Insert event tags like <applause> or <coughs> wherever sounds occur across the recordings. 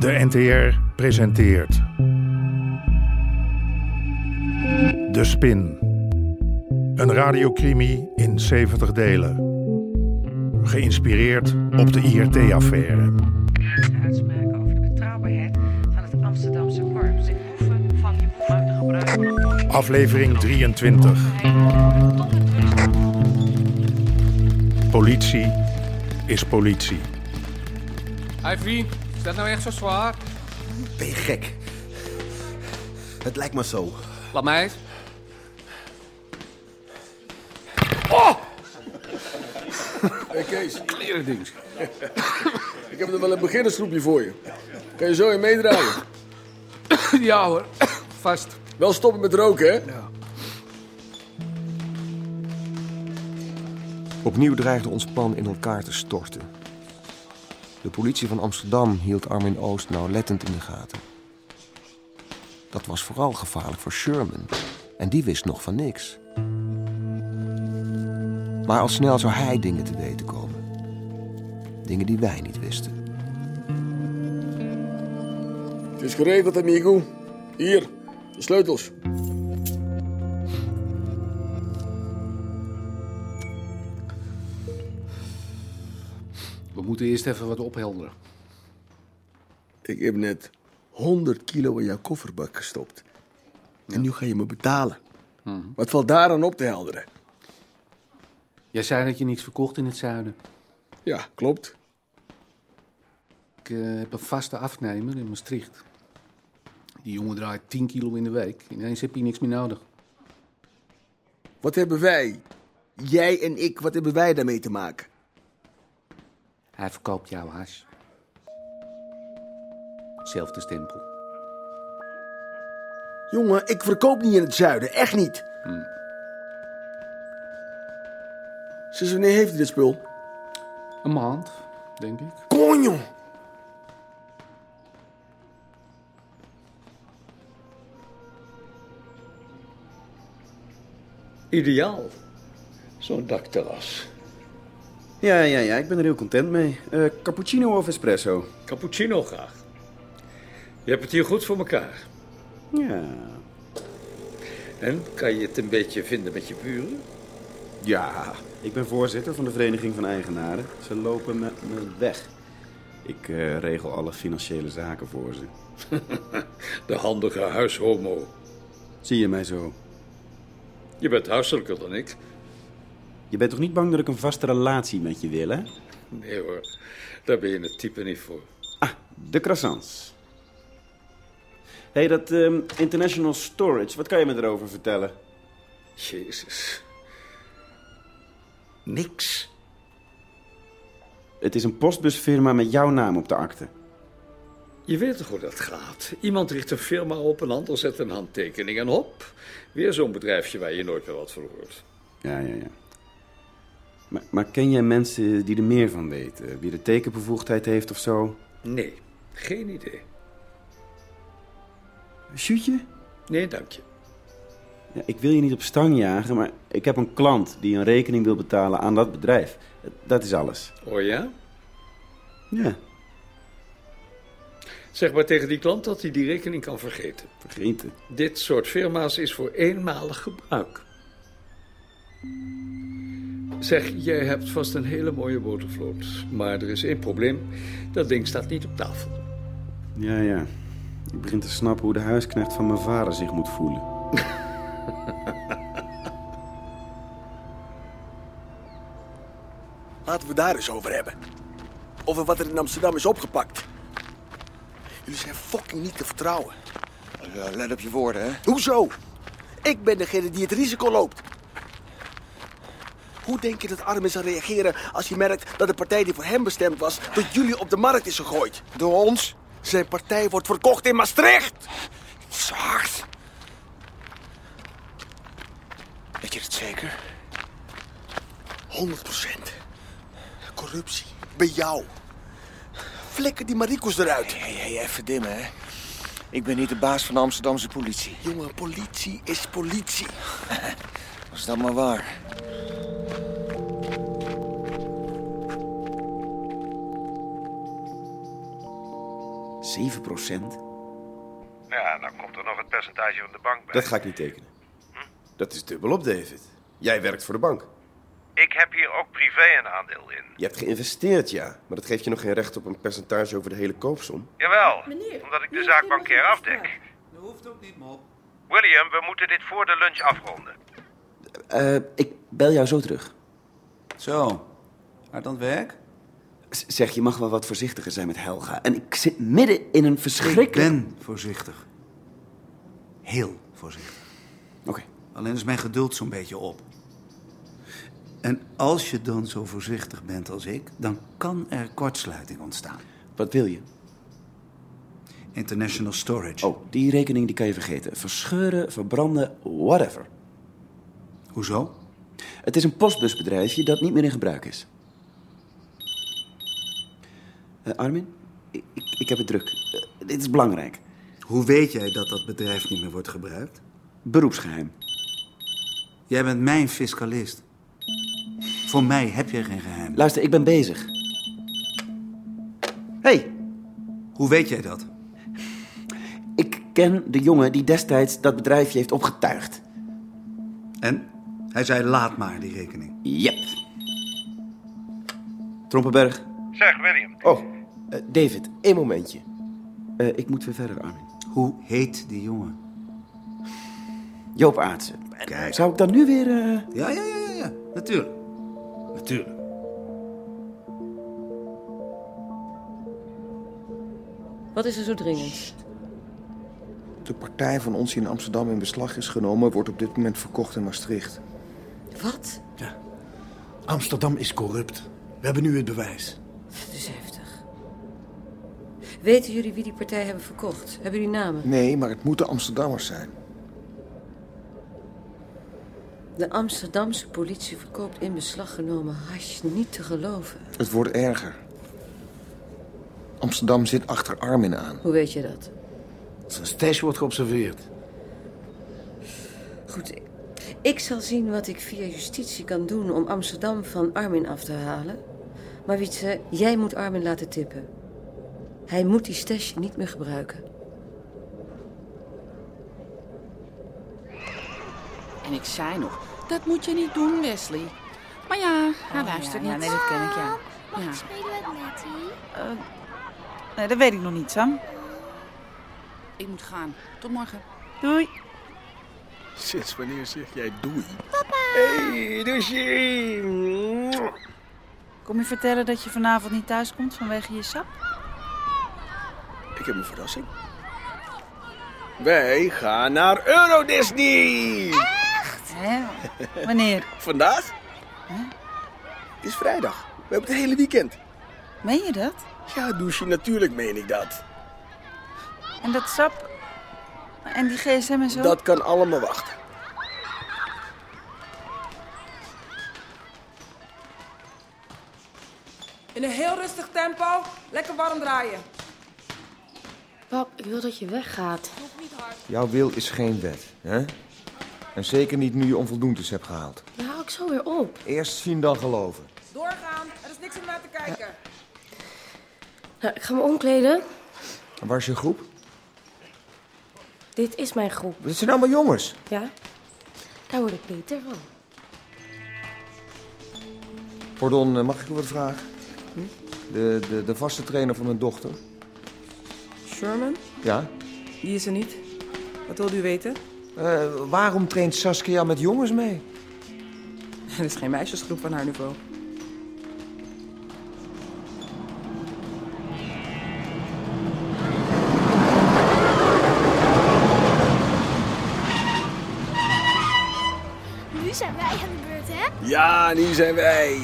De NTR presenteert. De Spin. Een radiocrimi in 70 delen. Geïnspireerd op de IRT-affaire. uitspraken over de betrouwbaarheid van het Amsterdamse korps. De hoeven van die boeven uit te gebruiken. Aflevering 23. Politie is politie. Hé vriend, is dat nou echt zo zwaar? Ben je gek? Het lijkt me zo. Laat mij eens. Hey Kees, Kleren dings. ik heb er wel een beginnersgroepje voor je. Kan je zo in meedraaien? Ja hoor, <coughs> vast. Wel stoppen met roken, hè? Opnieuw dreigde ons plan in elkaar te storten. De politie van Amsterdam hield Armin Oost nauwlettend in de gaten. Dat was vooral gevaarlijk voor Sherman. En die wist nog van niks. Maar al snel zou hij dingen te weten komen. Dingen die wij niet wisten. Het is geregeld, amigo. Hier, de sleutels. We moeten eerst even wat ophelderen. Ik heb net 100 kilo in jouw kofferbak gestopt. En nu ga je me betalen. Wat valt daar aan op te helderen? Jij zei dat je niets verkocht in het zuiden. Ja, klopt. Ik eh, heb een vaste afnemer in Maastricht. Die jongen draait 10 kilo in de week. Ineens heb je niks meer nodig. Wat hebben wij, jij en ik, wat hebben wij daarmee te maken? Hij verkoopt jouw hash. Zelfde stempel. Jongen, ik verkoop niet in het zuiden, echt niet. Sinds wanneer heeft hij dit spul? Een maand, denk ik. Konjo! Ideaal. Zo'n dakterras. Ja, ja, ja, ik ben er heel content mee. Eh, cappuccino of espresso? Cappuccino graag. Je hebt het hier goed voor elkaar. Ja. En kan je het een beetje vinden met je buren? Ja. Ik ben voorzitter van de Vereniging van Eigenaren. Ze lopen met me weg. Ik eh, regel alle financiële zaken voor ze. De handige huishomo. Zie je mij zo? Je bent huiselijker dan ik. Je bent toch niet bang dat ik een vaste relatie met je wil, hè? Nee hoor, daar ben je het type niet voor. Ah, de croissants. Hé, hey, dat ehm, International Storage, wat kan je me erover vertellen? Jezus. Niks. Het is een postbusfirma met jouw naam op de akte. Je weet toch hoe dat gaat? Iemand richt een firma op, een ander zet een handtekening en hop. Weer zo'n bedrijfje waar je nooit meer wat van hoort. Ja, ja, ja. Maar, maar ken jij mensen die er meer van weten? Wie de tekenbevoegdheid heeft of zo? Nee, geen idee. Sjoetje? Nee, dank je. Ja, ik wil je niet op stang jagen, maar ik heb een klant die een rekening wil betalen aan dat bedrijf. Dat is alles. Oh ja? Ja, Zeg maar tegen die klant dat hij die rekening kan vergeten. vergeten. Dit soort firma's is voor eenmalig gebruik. Zeg, jij hebt vast een hele mooie botervloot. Maar er is één probleem. Dat ding staat niet op tafel. Ja, ja. Ik begin te snappen hoe de huisknecht van mijn vader zich moet voelen. Laten we daar eens over hebben. Over wat er in Amsterdam is opgepakt. Jullie zijn fucking niet te vertrouwen. Ja, Eh, let op je woorden, hè. Hoezo? Ik ben degene die het risico loopt. Hoe denk je dat Armin zal reageren als hij merkt dat de partij die voor hem bestemd was, door jullie op de markt is gegooid? Door ons? Zijn partij wordt verkocht in Maastricht! Zacht. Weet je dat zeker? 100%. Corruptie. Bij jou. Flikker die Maricos eruit. Hé, hey, even dimmen, hè. Ik ben niet de baas van de Amsterdamse politie. Jongen, politie is politie. Was <laughs> dat maar waar. 7 procent. Ja, dan komt er nog het percentage van de bank bij. Hm? Dat ga ik niet tekenen. Dat is dubbelop, David. Jij werkt voor de bank. Ik heb hier ook privé een aandeel in. Je hebt geïnvesteerd, ja. Maar dat geeft je nog geen recht op een percentage over de hele koopsom. Jawel, omdat ik de zaak bankair afdek. Dat hoeft ook niet, mop. William, we moeten dit voor de lunch afronden. Eh, ik bel jou zo terug. Zo, hard aan het werk? Z- zeg, je mag wel wat voorzichtiger zijn met Helga. En ik zit midden in een Ik verschrikkelijk... ben voorzichtig. Heel voorzichtig. Oké. Alleen is mijn geduld zo'n beetje op. En als je dan zo voorzichtig bent als ik, dan kan er kortsluiting ontstaan. Wat wil je? International storage. Oh, die rekening die kan je vergeten. Verscheuren, verbranden, whatever. Hoezo? Het is een postbusbedrijfje dat niet meer in gebruik is. Eh, Armin, ik, ik, ik heb het druk. Eh, dit is belangrijk. Hoe weet jij dat dat bedrijf niet meer wordt gebruikt? Beroepsgeheim. Jij bent mijn fiscalist. Voor mij heb je geen geheim. Luister, ik ben bezig. hey, Hoe weet jij dat? ik ken de jongen die destijds dat bedrijfje heeft opgetuigd. En? Hij zei, laat maar die rekening. Jep. Trompenberg. Zeg, William, Oh, Eh, David, één momentje. Eh, ik moet weer verder, Armin. Hoe heet die jongen? Joop Aartsen. Kijk. Zou ik dan nu weer... eh, Ja, ja, ja, ja, ja. Natuurlijk. Natuurlijk. Wat is er zo dringend? De partij van ons die in Amsterdam in beslag is genomen, wordt op dit moment verkocht in Maastricht. Wat? Amsterdam is corrupt. We hebben nu het bewijs. Dat is heftig. Weten jullie wie die partij hebben verkocht? Hebben jullie namen? Nee, maar het moeten Amsterdammers zijn. De Amsterdamse politie verkoopt in beslag genomen hash niet te geloven. Het wordt erger. Amsterdam zit achter Armin aan. Hoe weet je dat? Zijn stash wordt geobserveerd. Goed, ik- ik zal zien wat ik via justitie kan doen om Amsterdam van Armin af te halen. Maar Wietse, jij moet Armin laten tippen. Hij moet die stash niet meer gebruiken. En ik zei nog, dat moet je niet doen, Wesley. Maar Oh, ja, hij luistert niet. nee, dat ken ik, ja. ja. Eh, Nee, dat weet ik nog niet, Sam. Ik moet gaan. Tot morgen. Doei. Sinds wanneer zeg jij doei? Kom je vertellen dat je vanavond niet thuis komt vanwege je sap? Ik heb een verrassing. Wij gaan naar Euro Disney! Wanneer? Eh, Vandaag? Het is vrijdag. We hebben het hele weekend. Meen je dat? Ja, douche, natuurlijk meen ik dat. En dat sap? En die gsm en zo? Dat kan allemaal wachten. In een heel rustig tempo, lekker warm draaien. Pap, ik wil dat je weggaat. Jouw wil is geen wet, hè? En zeker niet nu je onvoldoendes hebt gehaald. Je hou ik zo weer op. Eerst zien, dan geloven. Doorgaan, er is niks om naar te kijken. Nou, ik ga me omkleden. En waar is je groep? Dit is mijn groep, Dat zijn allemaal jongens. ja? Daar word ik beter van. Pardon, eh, mag ik u wat vragen? De, de, de vaste trainer van mijn dochter. Sherman, Ja? die is er niet. Wat wilde u weten? <laughs> Eh, waarom traint Saskia met jongens mee? Er is geen meisjesgroep van haar niveau. Nu zijn wij aan de beurt, hè? Ja, nu zijn wij.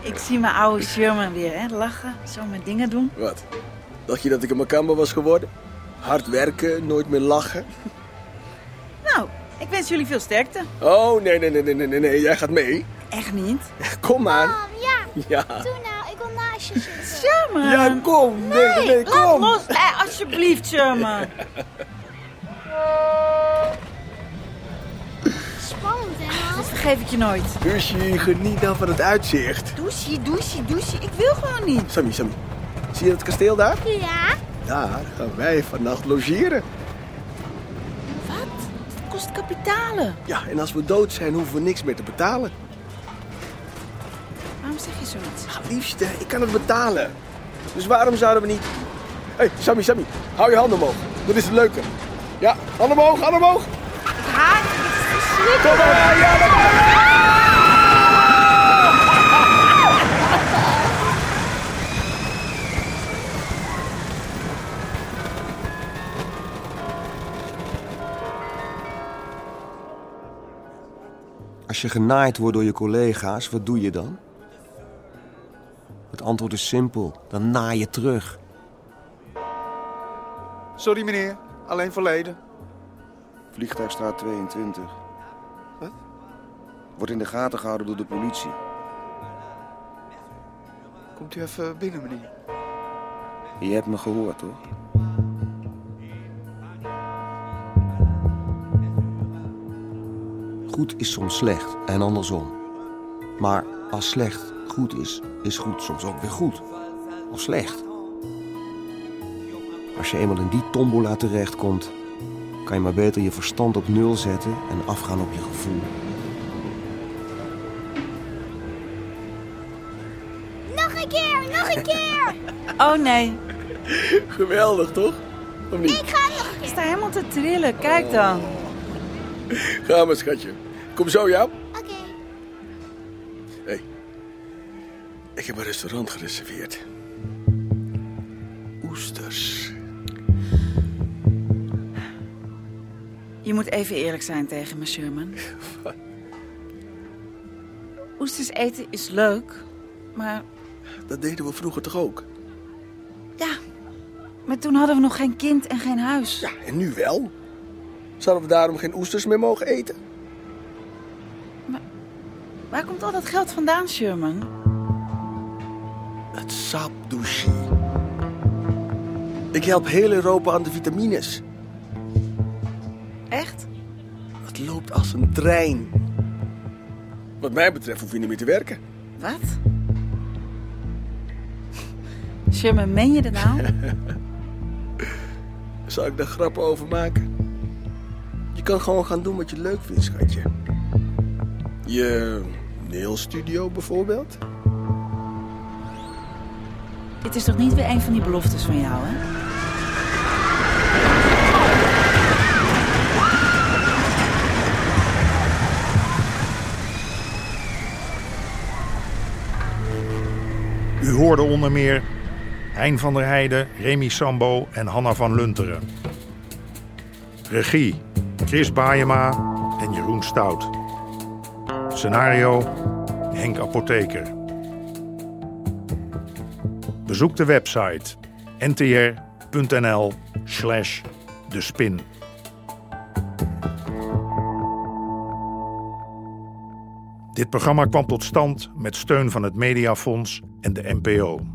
Ik zie mijn oude Sherman weer, hè? Lachen, zo mijn dingen doen. Wat? Dacht je dat ik een makamba was geworden? Hard werken, nooit meer lachen. Nou, ik wens jullie veel sterkte. Oh, nee, nee, nee, nee, nee, nee, nee. jij gaat mee. Echt niet? Kom maar. Ja, Ja. doe nou, ik wil naast je zitten. Sherman! Ja, kom. Nee, nee, nee, Laat kom. los, hè, alsjeblieft, Sherman. Spannend, hè? Dat vergeef ik je nooit. Douche, geniet dan van het uitzicht. Douche, douche, douche. Ik wil gewoon niet. Sammy, Sammy. Zie je dat kasteel daar? Ja. Daar Daar gaan wij vannacht logeren. Wat? Dat kost kapitalen. Ja, en als we dood zijn, hoeven we niks meer te betalen. Waarom zeg je zoiets? Liefste, ik kan het betalen. Dus waarom zouden we niet... Hé, hey, Sammy, Sammy, hou je handen omhoog. Dat is het leuke. Ja, handen omhoog, handen omhoog. Haat, Kom maar, ja, ja, ja, Als je genaaid wordt door je collega's, wat doe je dan? Het antwoord is simpel. Dan naai je terug. Sorry meneer, alleen verleden. Vliegtuigstraat 22. Wat? Wordt in de gaten gehouden door de politie. Komt u even binnen meneer. Je hebt me gehoord, toch? Goed is soms slecht en andersom. Maar als slecht goed is, is goed soms ook weer goed. Of slecht. Als je eenmaal in die tombola terechtkomt, kan je maar beter je verstand op nul zetten en afgaan op je gevoel. Nog een keer, nog een keer! Oh nee. Geweldig, toch? Of niet? ga nog Ik sta helemaal te trillen, kijk dan. Ga maar, schatje. Kom zo, ja? Oké. Hé, hey. ik heb een restaurant gereserveerd. Oesters. Je moet even eerlijk zijn tegen me, Sherman. Oesters eten is leuk, maar Dat deden we vroeger toch ook? ja. Maar toen hadden we nog geen kind en geen huis. Ja, en nu wel? Zouden we daarom geen oesters meer mogen eten? Waar komt al dat geld vandaan, Sherman? Het sap douchi. Ik help heel Europa aan de vitamines. Echt? Het loopt als een trein. Wat mij betreft hoef je niet meer te werken. Wat? Sherman, meen je dat nou? Zal ik daar grappen over maken? Je kan gewoon gaan doen wat je leuk vindt, schatje. Je nailstudio bijvoorbeeld? Het is toch niet weer een van die beloftes van jou, hè? U hoorde onder meer Hein van der Heijden, Remy Sambo en Hanna van Lunteren. Regie Chris Baayema en Jeroen Stout. Scenario Henk Apotheker. Bezoek de website ntr.nl slash de spin. Dit programma kwam tot stand met steun van het Mediafonds en de NPO.